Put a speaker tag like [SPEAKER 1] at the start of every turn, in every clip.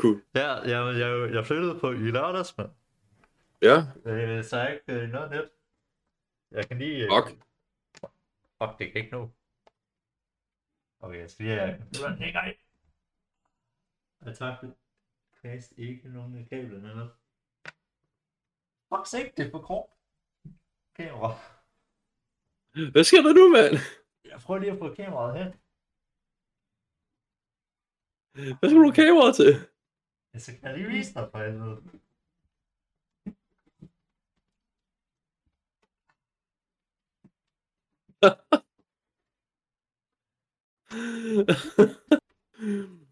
[SPEAKER 1] Cool.
[SPEAKER 2] Ja, jeg, jeg, jeg flyttede på i lørdags, mand.
[SPEAKER 1] Ja,
[SPEAKER 2] Øh, så jeg har ikke øh, noget net. Jeg kan lige... øh,
[SPEAKER 1] fuck.
[SPEAKER 2] Fuck, det kan ikke nå. Okay, jeg skal lige have computeren. Hey, guy. Jeg tager det. Kast ikke nogen af kablerne med. Fuck sake, det er for kort. Kamera.
[SPEAKER 1] Hvad sker der nu, mand?
[SPEAKER 2] Jeg prøver lige at få kameraet hen.
[SPEAKER 1] Hvad skal du have kameraet til?
[SPEAKER 2] Jeg skal jeg lige vise dig for helvede.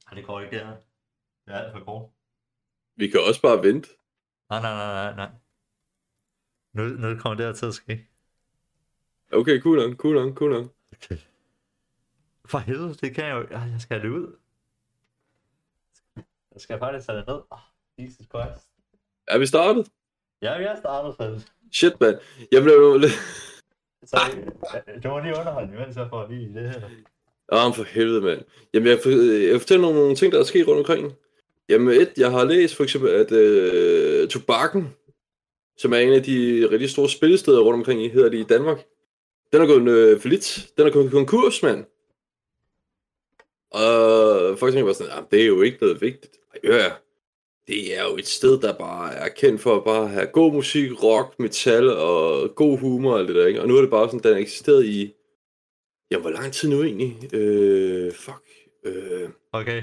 [SPEAKER 2] Nej, det går ikke det her. Det er alt for kort.
[SPEAKER 1] Vi kan også bare vente.
[SPEAKER 2] Nej, nej, nej, nej, nej. Nu, nu kommer det her til at ske.
[SPEAKER 1] Okay, cool on, cool on, cool on.
[SPEAKER 2] Okay. For helvede, det kan jeg jo. Ej, Jeg skal have det ud. Jeg skal faktisk have det ned. Oh, Jesus Christ.
[SPEAKER 1] Er vi startet?
[SPEAKER 2] Ja, vi har startet for det.
[SPEAKER 1] Shit, mand. Jeg blev jo lidt...
[SPEAKER 2] Så øh, du må lige underholde imens jeg får lige det her.
[SPEAKER 1] Ah, for helvede, mand. Jamen, jeg, for- jeg fortæller nogle, nogle ting, der er sket rundt omkring. Jamen, et, jeg har læst for eksempel, at øh, Tobakken, som er en af de rigtig store spillesteder rundt omkring i, hedder det i Danmark, den er gået øh, for lidt. Den er gået konkurs, mand. Og folk tænker bare sådan, "Jamen, det er jo ikke noget vigtigt. Ej, Ja, ja. det er jo et sted, der bare er kendt for at bare have god musik, rock, metal og god humor og alt det der, ikke? Og nu er det bare sådan, den har eksisteret i Jamen, hvor lang tid nu egentlig? Øh, fuck. Øh,
[SPEAKER 2] Okay.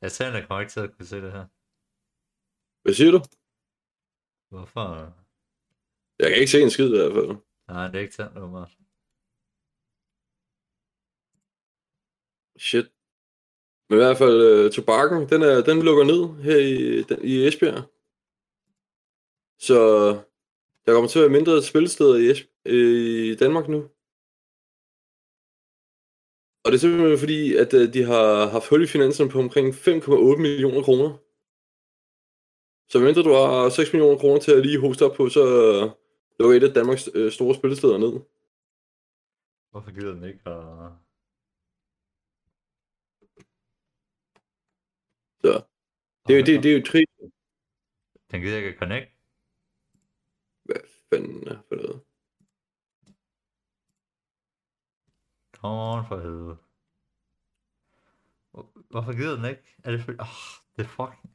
[SPEAKER 2] Jeg ser, at jeg kommer ikke til at kunne se det her.
[SPEAKER 1] hvad siger du?
[SPEAKER 2] Hvorfor?
[SPEAKER 1] Jeg kan ikke se en skid i hvert fald.
[SPEAKER 2] Nej, det er ikke tændt nummer.
[SPEAKER 1] Shit. Men i hvert fald, øh, tobakken, den, er, den lukker ned her i, den, i Esbjerg. Så der kommer til at være mindre spillesteder i, Esb- øh, i Danmark nu. Og det er simpelthen fordi, at øh, de har haft hul i finanserne på omkring 5,8 millioner kroner. Så mindre du har 6 millioner kroner til at lige hoste op på, så øh, lukker et af Danmarks øh, store spillesteder ned.
[SPEAKER 2] Hvorfor gider den ikke at...
[SPEAKER 1] Så det, er jo- det, det er jo trist.
[SPEAKER 2] Den gider ikke at connect.
[SPEAKER 1] Hvad fanden er for noget?
[SPEAKER 2] Come on, for helvede. Hvor- Hvorfor gider den ikke? Er det fordi... Oh, det er fucking...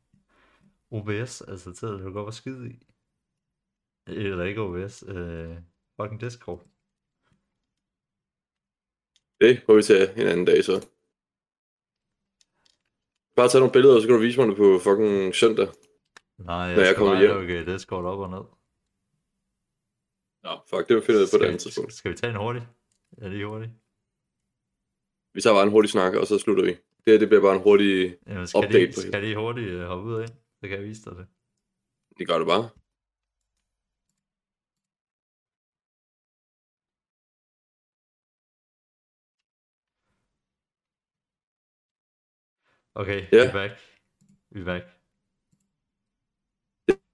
[SPEAKER 2] OBS, altså til at lukke op og skide i. Eller ikke OBS, øh, fucking Discord.
[SPEAKER 1] Det må vi tage en anden dag så. Bare tage nogle billeder, og så kan du vise mig det på fucking søndag.
[SPEAKER 2] Nej, jeg,
[SPEAKER 1] jeg
[SPEAKER 2] jeg skal
[SPEAKER 1] kommer
[SPEAKER 2] bare
[SPEAKER 1] hjem.
[SPEAKER 2] lukke øh, Discord op og ned.
[SPEAKER 1] Nå, fuck, det finder vi på et
[SPEAKER 2] Skal
[SPEAKER 1] andet
[SPEAKER 2] vi-
[SPEAKER 1] tidspunkt.
[SPEAKER 2] Skal vi tage en hurtig? Ja, lige hurtigt.
[SPEAKER 1] Vi tager bare en hurtig snak, og så slutter vi. Det her, det bliver bare en hurtig...
[SPEAKER 2] Jamen, skal,
[SPEAKER 1] Update
[SPEAKER 2] lige,
[SPEAKER 1] på hende.
[SPEAKER 2] skal lige hurtigt øh, hoppe ud af ind? Så kan jeg vise dig det.
[SPEAKER 1] Det gør det bare.
[SPEAKER 2] Okay,
[SPEAKER 1] Ja.
[SPEAKER 2] vi er back. Vi er back.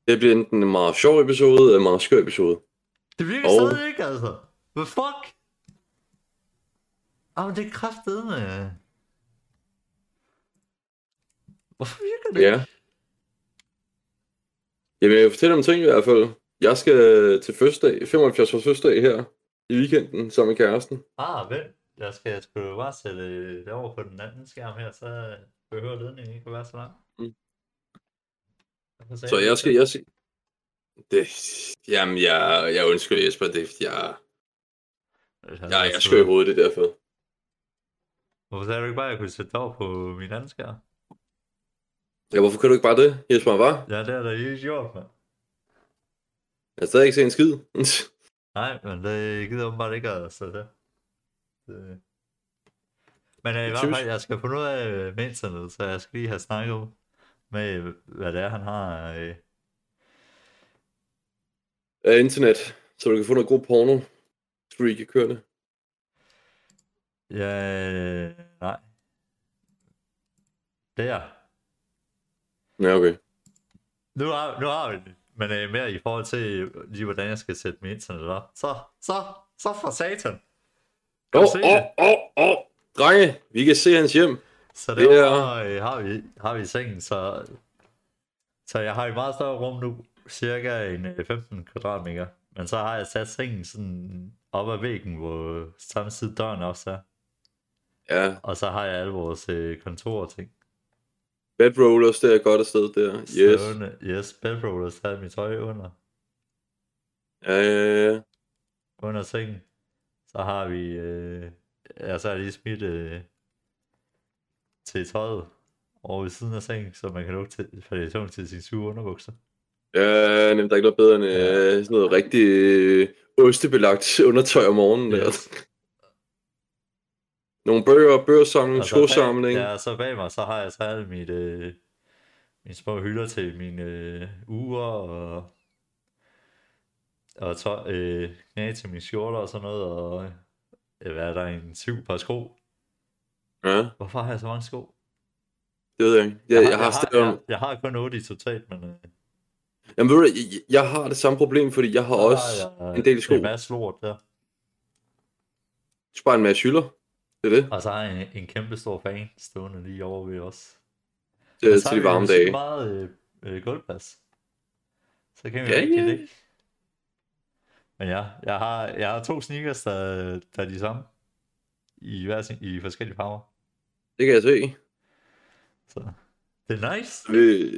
[SPEAKER 1] Det bliver enten en meget sjov episode, eller en meget skør episode.
[SPEAKER 2] Det virker
[SPEAKER 1] Og-
[SPEAKER 2] oh. stadig ikke, altså. Hvad fuck? Jamen, det er kraftedeme. Hvorfor virker det?
[SPEAKER 1] Ja. Jamen, jeg fortæller om ting i hvert fald. Jeg skal til fødselsdag, 75 års fødselsdag her i weekenden sammen med kæresten.
[SPEAKER 2] Ah, vent. Jeg skal sgu bare sætte øh, det over på den anden skærm her, så øh, behøver ledningen ikke at være så lang.
[SPEAKER 1] Mm.
[SPEAKER 2] Hvorfor sagde
[SPEAKER 1] Så
[SPEAKER 2] du
[SPEAKER 1] jeg
[SPEAKER 2] ikke
[SPEAKER 1] skal,
[SPEAKER 2] det?
[SPEAKER 1] jeg skal... Det, jamen, jeg, jeg undskylder Jesper, det er, fordi jeg, jeg, jeg er skør i hovedet, det er derfor.
[SPEAKER 2] Altså, Hvorfor sagde du ikke bare, at jeg kunne sætte det over på min anden skærm?
[SPEAKER 1] Ja, hvorfor kan du ikke bare det, Jesper, var?
[SPEAKER 2] Ja, det er da ikke gjort, mand.
[SPEAKER 1] Jeg har stadig ikke set en skid.
[SPEAKER 2] Nej, men det gider åbenbart ikke at sætte det. det. Men øh, i hvert
[SPEAKER 1] synes-
[SPEAKER 2] fald, jeg skal finde ud af øh, med internet, så jeg skal lige have snakket med, øh, hvad det er, han har. Øh.
[SPEAKER 1] Af internet, så du kan få noget god porno. Streak i kørende.
[SPEAKER 2] Ja, øh, nej. Der.
[SPEAKER 1] Ja, okay.
[SPEAKER 2] Nu har, nu har vi det. Men øh, mere i forhold til øh, lige, hvordan jeg skal sætte mit internet op. Så, så, så for satan. Kan
[SPEAKER 1] Åh,
[SPEAKER 2] du se
[SPEAKER 1] åh,
[SPEAKER 2] det?
[SPEAKER 1] åh, åh. Drenge, vi kan se hans hjem.
[SPEAKER 2] Så
[SPEAKER 1] Det er-
[SPEAKER 2] derovre øh, har, vi, har vi sengen, så, så jeg har et meget større rum nu, cirka en øh, 15 kvadratmeter. Men så har jeg sat sengen sådan op ad væggen, hvor samtidig døren også er.
[SPEAKER 1] Ja,
[SPEAKER 2] Og så har jeg alle vores øh, kontor og ting.
[SPEAKER 1] bedrollers, det er et godt sted der. Yes.
[SPEAKER 2] Stående- yes bedrollers havde mit tøj under,
[SPEAKER 1] Ja, ja, ja.
[SPEAKER 2] under sengen. Så har vi... Øh, ja, så har jeg lige smidt øh, til tøjet over ved siden af sengen, så man kan lukke til, for det er tungt til sine sure underbukser.
[SPEAKER 1] Ja, nemt, der er ikke noget bedre end øh, sådan noget rigtig øh, ostebelagt undertøj om morgenen. Der.
[SPEAKER 2] Yes.
[SPEAKER 1] Nogle bøger, bøgersamling,
[SPEAKER 2] Og så bag-
[SPEAKER 1] skosamling.
[SPEAKER 2] Altså, Ja, og så bag mig, så har jeg så alle mine, øh, mine små hylder til mine øh, uger og, og tøj, øh, knæ til mine skjorter og sådan noget, og øh, hvad er der, en syv par sko.
[SPEAKER 1] ja.
[SPEAKER 2] Hvorfor har jeg så mange sko?
[SPEAKER 1] Det ved jeg ikke. Jeg, jeg, jeg har stadig...
[SPEAKER 2] jeg, jeg har kun otte i totalt, men øh,
[SPEAKER 1] Jamen ved du, jeg, jeg har det samme problem, fordi jeg har
[SPEAKER 2] så
[SPEAKER 1] også
[SPEAKER 2] har jeg, øh,
[SPEAKER 1] en del sko.
[SPEAKER 2] En masse lort der.
[SPEAKER 1] bare en masse hylder. Det er det.
[SPEAKER 2] Og så har jeg en, en kæmpe stor fan stående lige over ved os.
[SPEAKER 1] Det er
[SPEAKER 2] Og så har
[SPEAKER 1] øh, til de
[SPEAKER 2] vi jo
[SPEAKER 1] varme
[SPEAKER 2] så
[SPEAKER 1] dage.
[SPEAKER 2] meget øh, øh, gulvplads. Så kan vi
[SPEAKER 1] Ja,
[SPEAKER 2] ja, rigtig
[SPEAKER 1] ja.
[SPEAKER 2] ja. ligge. Men ja, jeg har, jeg har to sneakers, der, der er de samme. I, hver sin, I forskellige farver.
[SPEAKER 1] Det kan jeg se.
[SPEAKER 2] Så det er nice.
[SPEAKER 1] Vi,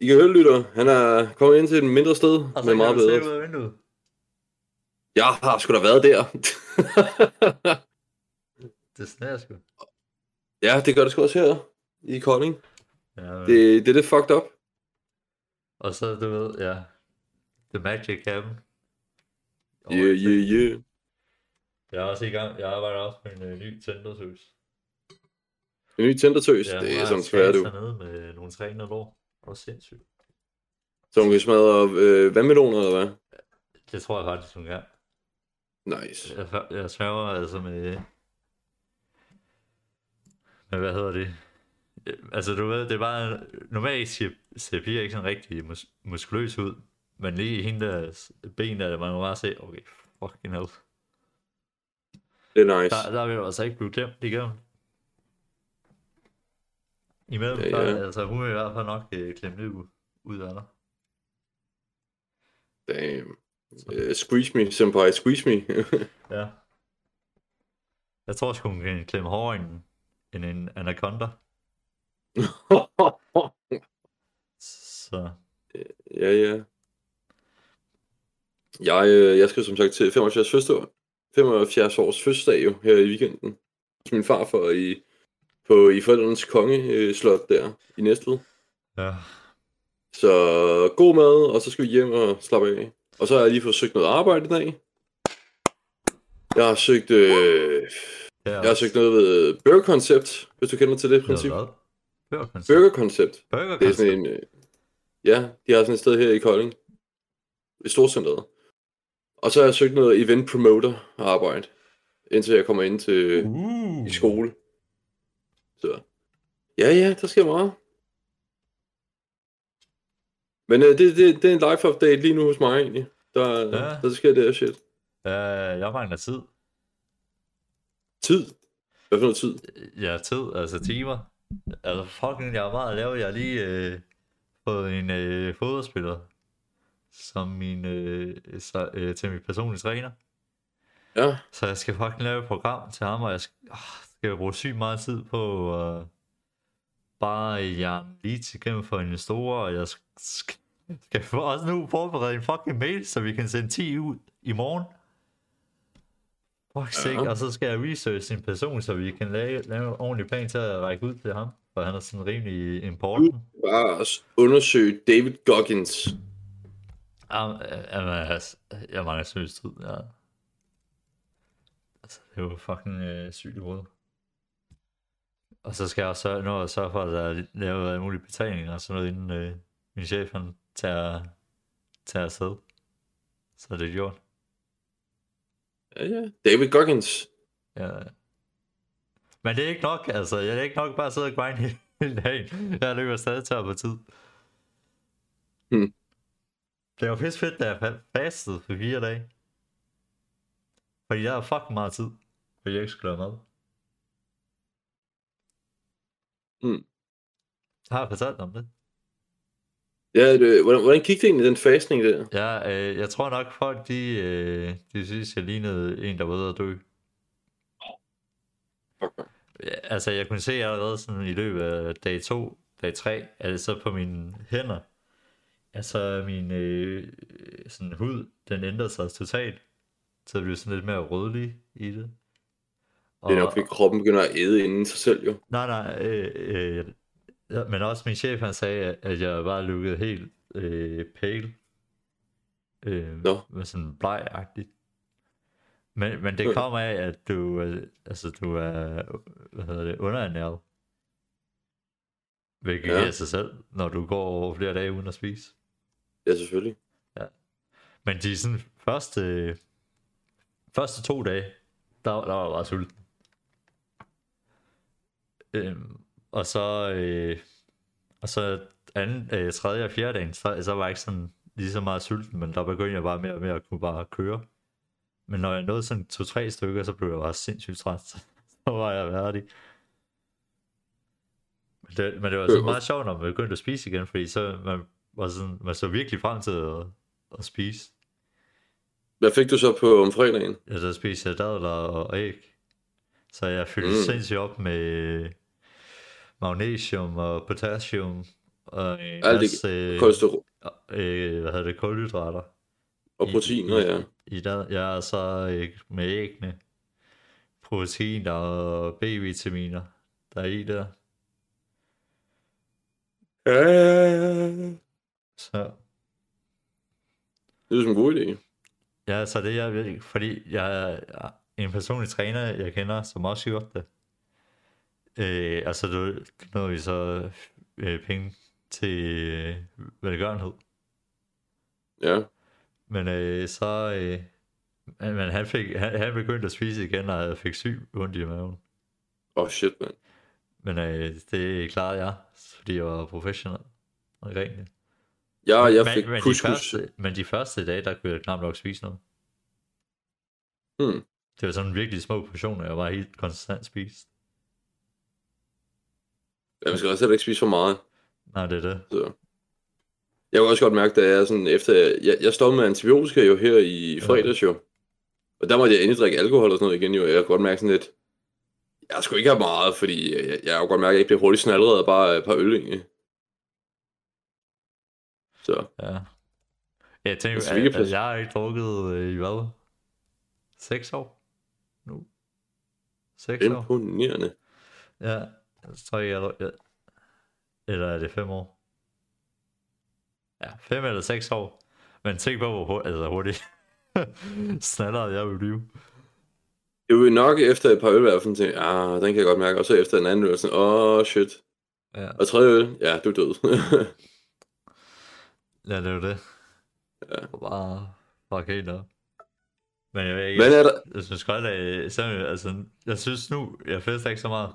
[SPEAKER 1] I kan høre, lytter. Han er kommet ind til et mindre sted,
[SPEAKER 2] Og så
[SPEAKER 1] men
[SPEAKER 2] kan
[SPEAKER 1] meget
[SPEAKER 2] du se ud
[SPEAKER 1] bedre.
[SPEAKER 2] af vinduet.
[SPEAKER 1] Jeg har sgu da været der.
[SPEAKER 2] Det sneer sgu.
[SPEAKER 1] ja, det gør det sgu også her i Kolding.
[SPEAKER 2] Ja, men-
[SPEAKER 1] Det, det er det fucked up.
[SPEAKER 2] Og så, du ved, ja. The Magic Happen. Og
[SPEAKER 1] Yeah, yeah, yeah.
[SPEAKER 2] Jeg er også i gang. Jeg arbejder også med en øh, ny Tindersus.
[SPEAKER 1] En ny tændertøs, ja, det er sådan svært, du.
[SPEAKER 2] nede med nogle træner lår. Og sindssygt.
[SPEAKER 1] Så hun kan smadre øh, vandmeloner, eller hvad?
[SPEAKER 2] Det tror jeg faktisk, hun kan.
[SPEAKER 1] Nice.
[SPEAKER 2] Jeg, fa- jeg sværger altså med... Men hvad hedder det? Øh, Altså du ved, det er bare... Normalt ser, ser piger ikke sådan rigtig mus, muskuløs ud. Men lige i hende deres ben, der man kan bare se, okay, fucking hell.
[SPEAKER 1] Det er nice.
[SPEAKER 2] Der, der vil jeg altså ikke blive klemt igennem. Imellem,
[SPEAKER 1] Ja,
[SPEAKER 2] ja,
[SPEAKER 1] ja.
[SPEAKER 2] ja. altså hun vil i hvert fald nok øh, klemme lidt ud, ud af dig.
[SPEAKER 1] Damn. Uh, squeeze me, senpai. Squeeze me.
[SPEAKER 2] Ja. Jeg tror sgu, hun kan klemme hårdere end, end en anaconda. Så
[SPEAKER 1] ja, ja. Jeg, øh, jeg skal som sagt til 75 fødselsdag. 75 års fødselsdag jo, her i weekenden. Som min far for i, på, i forældrenes kongeslot der i Næstved.
[SPEAKER 2] ja.
[SPEAKER 1] Så god mad, og så skal vi hjem og slappe af. Og så har jeg lige fået søgt noget arbejde i dag. Jeg har søgt, øh,
[SPEAKER 2] Ja,
[SPEAKER 1] jeg har søgt noget ved Burger Concept, hvis du kender til det princip.
[SPEAKER 2] Noget hvad? Burgerkoncept.
[SPEAKER 1] Burger Concept.
[SPEAKER 2] Burger
[SPEAKER 1] Det er sådan en... øh, Ja, de har sådan et sted her i Kolding. I Storcenteret. Og så har jeg søgt noget event promoter arbejde, indtil jeg kommer ind til øh,
[SPEAKER 2] uh.
[SPEAKER 1] i skole. Så ja, ja, der sker meget. Men øh, det, det, det er en life update lige nu hos mig egentlig. Der, ja.
[SPEAKER 2] Ja.
[SPEAKER 1] der sker det her shit.
[SPEAKER 2] Øh, jeg mangler tid.
[SPEAKER 1] Tid. Hvad for noget tid?
[SPEAKER 2] Ja, tid, altså timer. Altså fucking, jeg har meget at lave. Jeg har lige øh, fået en øh, fodboldspiller som min, øh, så, øh, til min personlige træner.
[SPEAKER 1] Ja,
[SPEAKER 2] Så jeg skal fucking lave et program til ham, og jeg skal, oh, skal bruge sygt meget tid på øh, bare jeg lige til gennem for investorer, og jeg skal, skal for også nu forberede en fucking mail, så vi kan sende 10 ud i morgen. Fuck sake,
[SPEAKER 1] Ja.
[SPEAKER 2] og så skal jeg researche sin person, så vi kan lave, lave en ordentlig plan til at række ud til ham, for han er sådan rimelig important.
[SPEAKER 1] bare at undersøge David Goggins.
[SPEAKER 2] Jamen, altså, jeg mangler seriøst tid, ja. Altså, det var fucking øh, sygt i hovedet. Og så skal jeg også sørge, nå, at sørge for, at der er lavet alle mulige betalinger og sådan noget, inden øh, min chef han tager, tager afsted. Så det er gjort.
[SPEAKER 1] Ja, ja. David Goggins.
[SPEAKER 2] Ja. Men det er ikke nok, altså. Jeg er ikke nok bare at sidde og grinde hele dagen. Jeg løber stadig tør på tid.
[SPEAKER 1] Hmm.
[SPEAKER 2] Det var pisse fedt, da jeg fa- fastede for fire dage. Fordi jeg har fucking meget tid. Fordi jeg ikke skulle lave mad.
[SPEAKER 1] Mm.
[SPEAKER 2] Har jeg fortalt om det?
[SPEAKER 1] Ja, det, hvordan, hvordan gik det egentlig, den fasning der?
[SPEAKER 2] Ja, øh, jeg tror nok folk, de, øh, de synes, jeg lignede en, der var ude at dø.
[SPEAKER 1] Fuck, man.
[SPEAKER 2] Ja, altså, jeg kunne se allerede sådan i løbet af dag 2, dag 3, altså på mine hænder, altså min øh, sådan hud, den ændrede sig totalt. Så det blev sådan lidt mere rødlig i det.
[SPEAKER 1] Det er nok, fordi kroppen begynder at æde inden sig selv, jo.
[SPEAKER 2] Nej, nej, øh, øh, ja, men også min chef, han sagde, at jeg bare lukkede helt øh, pale. Øh,
[SPEAKER 1] Nå.
[SPEAKER 2] Med sådan blegagtigt. Men, men det
[SPEAKER 1] Okay.
[SPEAKER 2] kommer af, at du, øh, altså, du er hvad hedder det, underernæret. Hvilket
[SPEAKER 1] Ja.
[SPEAKER 2] ja. giver sig selv, når du går over flere dage uden at spise.
[SPEAKER 1] Ja, selvfølgelig.
[SPEAKER 2] Men de sådan første, første to dage, der, der var jeg bare sulten. Øhm, og så, øh, og så anden, øh, tredje og fjerde dagen, så, så var jeg ikke sådan lige så meget sulten, men der begyndte jeg bare mere og mere at kunne bare køre. Men når jeg nåede sådan to-tre stykker, så blev jeg bare sindssygt træt. Så var jeg værdig. Men det, men det var så
[SPEAKER 1] Øh,
[SPEAKER 2] meget sjovt, når man begyndte at spise igen, fordi så man, var sådan, man så virkelig frem til at, at spise.
[SPEAKER 1] Hvad fik du så på om fredagen?
[SPEAKER 2] Ja, så spiser jeg dadler og æg. Så jeg fyldte
[SPEAKER 1] Mm.
[SPEAKER 2] mm. sindssygt op med magnesium og potassium og en
[SPEAKER 1] Alt det
[SPEAKER 2] masse, øh,
[SPEAKER 1] Kolesterol
[SPEAKER 2] øh, hvad hedder det, kulhydrater.
[SPEAKER 1] og
[SPEAKER 2] øh,
[SPEAKER 1] proteiner, ja.
[SPEAKER 2] I dag, jeg er så øh, med æggene, proteiner og B-vitaminer, der er i der.
[SPEAKER 1] Ja,
[SPEAKER 2] Så,
[SPEAKER 1] det er som en god idé.
[SPEAKER 2] ja, så det er jeg virkelig, fordi jeg er en personlig træner, jeg kender, som også gjorde det. Øh, altså, du nåede vi så øh, penge til øh, velgørenhed.
[SPEAKER 1] Ja,
[SPEAKER 2] Men øh, så... Øh, men men han, fik, han, han begyndte at spise igen, og jeg fik syg ondt i maven.
[SPEAKER 1] åh oh, shit, mand.
[SPEAKER 2] Men øh, det klarede jeg, fordi jeg var professionel omkring det.
[SPEAKER 1] Ja, Ah, jeg
[SPEAKER 2] men,
[SPEAKER 1] fik øh.
[SPEAKER 2] men, de
[SPEAKER 1] couscous.
[SPEAKER 2] første, men de første dage, der kunne jeg knap nok spise noget.
[SPEAKER 1] Hmm.
[SPEAKER 2] Det var sådan virkelig små portioner, jeg var helt konstant spist.
[SPEAKER 1] Ja, man skal også heller ikke spise for meget.
[SPEAKER 2] Nej, det er det.
[SPEAKER 1] Så. Jeg kunne også godt mærke, at jeg sådan efter... Jeg, jeg stoppede med antibiotika jo her i fredags jo. Og der måtte jeg endelig drikke alkohol og sådan noget igen jo. Jeg kunne godt mærke sådan lidt... Jeg skulle ikke have meget, fordi jeg, jeg kunne godt mærke, at jeg ikke blev hurtigt snalleret af bare et par øl egentlig. Så
[SPEAKER 2] Ja. Jeg tænker,
[SPEAKER 1] Altså,
[SPEAKER 2] altså,
[SPEAKER 1] hvilket
[SPEAKER 2] at, at
[SPEAKER 1] plads-
[SPEAKER 2] jeg har ikke drukket øh, i hvad? 6 år? Nu? 6 år?
[SPEAKER 1] imponerende.
[SPEAKER 2] Ja, jeg tror ikke, jeg... er- ja. Eller er det fem år? Ja, fem eller seks år. Men tænk på, hvor hurtigt, altså hurtigt snallere jeg vil blive.
[SPEAKER 1] Det var nok efter et par øl, hvor jeg sådan tænkte, ah, den kan jeg godt mærke. Og så efter en anden øl, sådan, åh, oh, shit.
[SPEAKER 2] Ja,
[SPEAKER 1] Og tredje øl, ja, du er død.
[SPEAKER 2] ja det er jo det.
[SPEAKER 1] Ja.
[SPEAKER 2] Bare fuck helt op. Men jeg ved ikke,
[SPEAKER 1] Men øh- er der...
[SPEAKER 2] jeg synes godt, at selvom, jeg- altså, jeg synes nu, jeg fester ikke så meget.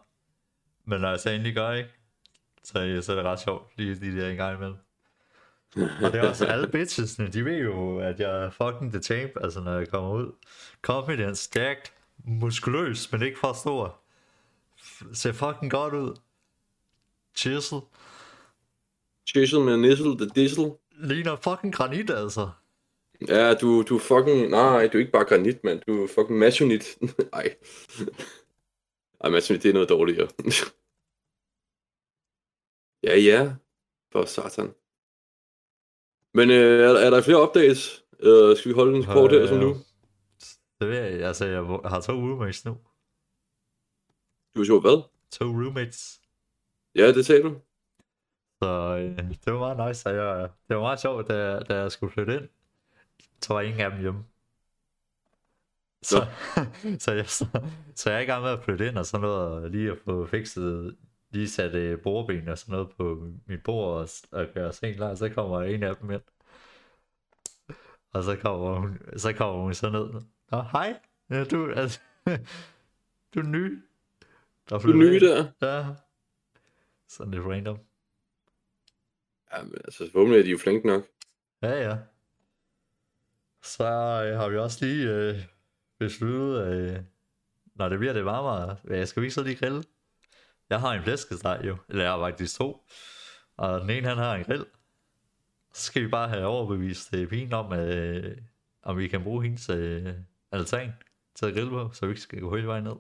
[SPEAKER 2] Men når jeg så endelig gør, ikke? Så, øh, så er det ret sjovt, lige, lige der en gang imellem. Og det er også alle bitchesne, de ved jo, at jeg er fucking the champ, altså når jeg kommer ud. Confident, stærkt, muskuløs, men ikke for stor. F- ser fucking godt ud. Chisel.
[SPEAKER 1] Chisel med nissel, the diesel.
[SPEAKER 2] Ligner fucking granit, altså.
[SPEAKER 1] Ja, du, du er fucking... Nej, du er ikke bare granit, mand. Du er fucking masonit. Ej. Ej, masonit, det er noget dårligere. ja, ja. For satan. Men øh, er, er der flere updates? Øh, skal vi holde en kort her som nu?
[SPEAKER 2] Øh, Det ved jeg, altså jeg har to roommates nu.
[SPEAKER 1] Du har sjovt hvad?
[SPEAKER 2] To roommates.
[SPEAKER 1] Ja, det sagde du.
[SPEAKER 2] Så øh, det var meget nice, og jeg, det var meget sjovt, da, jeg- da jeg skulle flytte ind, så var ingen af dem hjemme. Så, så, jeg, så, så jeg er i gang med at flytte ind og sådan noget, og lige at få fikset, lige sat øh, bordben og sådan noget på mit bord og, s- og gøre sengen klar, så kommer en af dem ind. Og så kommer hun, så kommer hun så ned. Nå, hej, ja, du, altså, du er ny. Der
[SPEAKER 1] Du er ny der.
[SPEAKER 2] Ja. Sådan lidt random.
[SPEAKER 1] Ja, men altså, forhåbentlig er de jo flink nok.
[SPEAKER 2] Ja, ja. Så øh, har vi også lige øh, besluttet, øh, når det bliver det varmere, øh, skal vi ikke så lige grille? Jeg har en flæskesteg jo, eller jeg har faktisk to. Og den ene, han har en grill. Så skal vi bare have overbevist øh, pigen om, øh, om vi kan bruge hendes øh, altan til at grille på, så vi ikke skal gå hele vejen ned.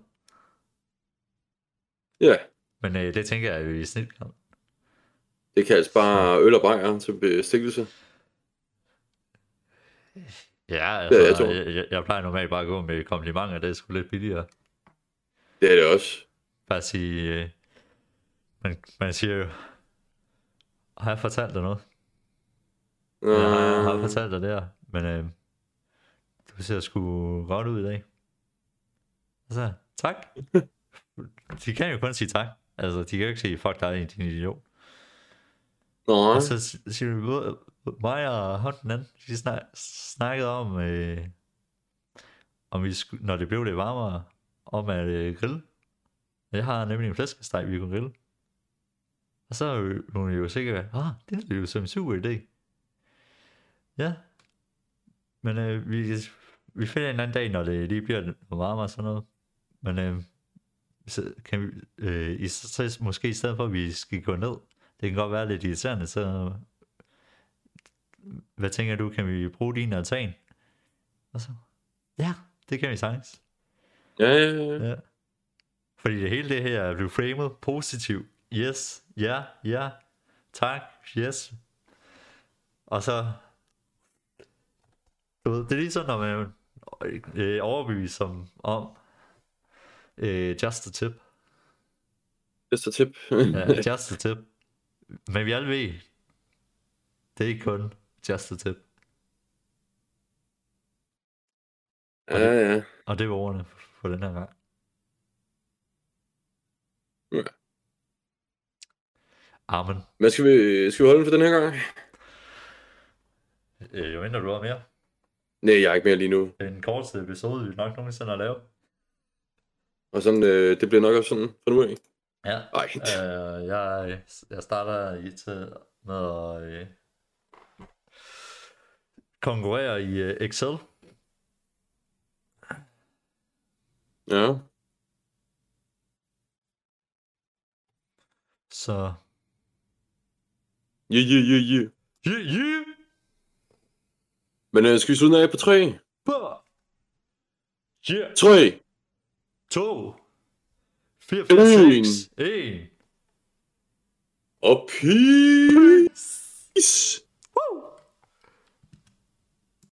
[SPEAKER 1] Ja,
[SPEAKER 2] Men øh, det tænker jeg, at vi snit kan.
[SPEAKER 1] det kaldes bare øl og bajer til bestikkelse.
[SPEAKER 2] Ja,
[SPEAKER 1] Ja, jeg
[SPEAKER 2] altså,
[SPEAKER 1] tror.
[SPEAKER 2] jeg, jeg, jeg plejer normalt bare at gå med komplimenter, det er sgu lidt billigere.
[SPEAKER 1] Det er det også.
[SPEAKER 2] Bare sige, øh, man, man siger jo, har jeg fortalt dig noget?
[SPEAKER 1] Nå,
[SPEAKER 2] Ja, altså- jeg har- jeg har fortalt dig det her, men øh, du ser sgu godt ud i dag. Altså, tak. De kan jo kun sige tak. Altså, de kan jo ikke sige, fuck dig, din idiot.
[SPEAKER 1] Nå,
[SPEAKER 2] Og så s- siger vi, både mig og hånden anden, vi snak, snakkede om, øh, om vi skulle, når det blev lidt varmere, om at øh, grille. Jeg har nemlig en flæskesteg, vi kunne grille. Og så er hun jo sikkert, ah, det er jo som en super idé. Ja. Men øh, vi, vi finder en anden dag, når det lige bliver lidt varmere og sådan noget. Men øh, så kan vi, øh, i, så, så måske i stedet for, at vi skal gå ned, det kan godt være lidt irriterende, så hvad tænker du, kan vi bruge din altan? Og så, ja, det kan vi sagtens.
[SPEAKER 1] ja, ja, ja.
[SPEAKER 2] Ja. Fordi det hele det her er blevet framet positivt. Yes, ja, ja, tak, yes. Og så, du ved, det er lige sådan, når man øh, overbeviser som om, øh, just a tip.
[SPEAKER 1] Bedste tip.
[SPEAKER 2] Ja, just a tip. Men vi alle ved, det er ikke kun just a tip.
[SPEAKER 1] ja, ja.
[SPEAKER 2] Og det var ordene for den her gang.
[SPEAKER 1] Ja.
[SPEAKER 2] Amen.
[SPEAKER 1] Men skal vi, skal vi holde den for den her gang?
[SPEAKER 2] Øh, jo mindre du har mere.
[SPEAKER 1] Nej, jeg er ikke mere lige nu.
[SPEAKER 2] Det er en korteste episode, vi nok nogensinde har lavet.
[SPEAKER 1] Og sådan, øh, det bliver nok også sådan for nu af.
[SPEAKER 2] Ja.
[SPEAKER 1] Ej,
[SPEAKER 2] Øh, jeg, jeg starter i til med at øh, konkurrere i øh, Excel.
[SPEAKER 1] ja.
[SPEAKER 2] Så...
[SPEAKER 1] Ja, ja, ja, ja.
[SPEAKER 2] Yeah, yeah!
[SPEAKER 1] Men øh, skal vi slutte den af på 3?
[SPEAKER 2] Bah! Yeah!
[SPEAKER 1] 3!
[SPEAKER 2] 2! 4,
[SPEAKER 1] En.
[SPEAKER 2] 5, 6, 1!
[SPEAKER 1] Og peace!
[SPEAKER 2] Woo!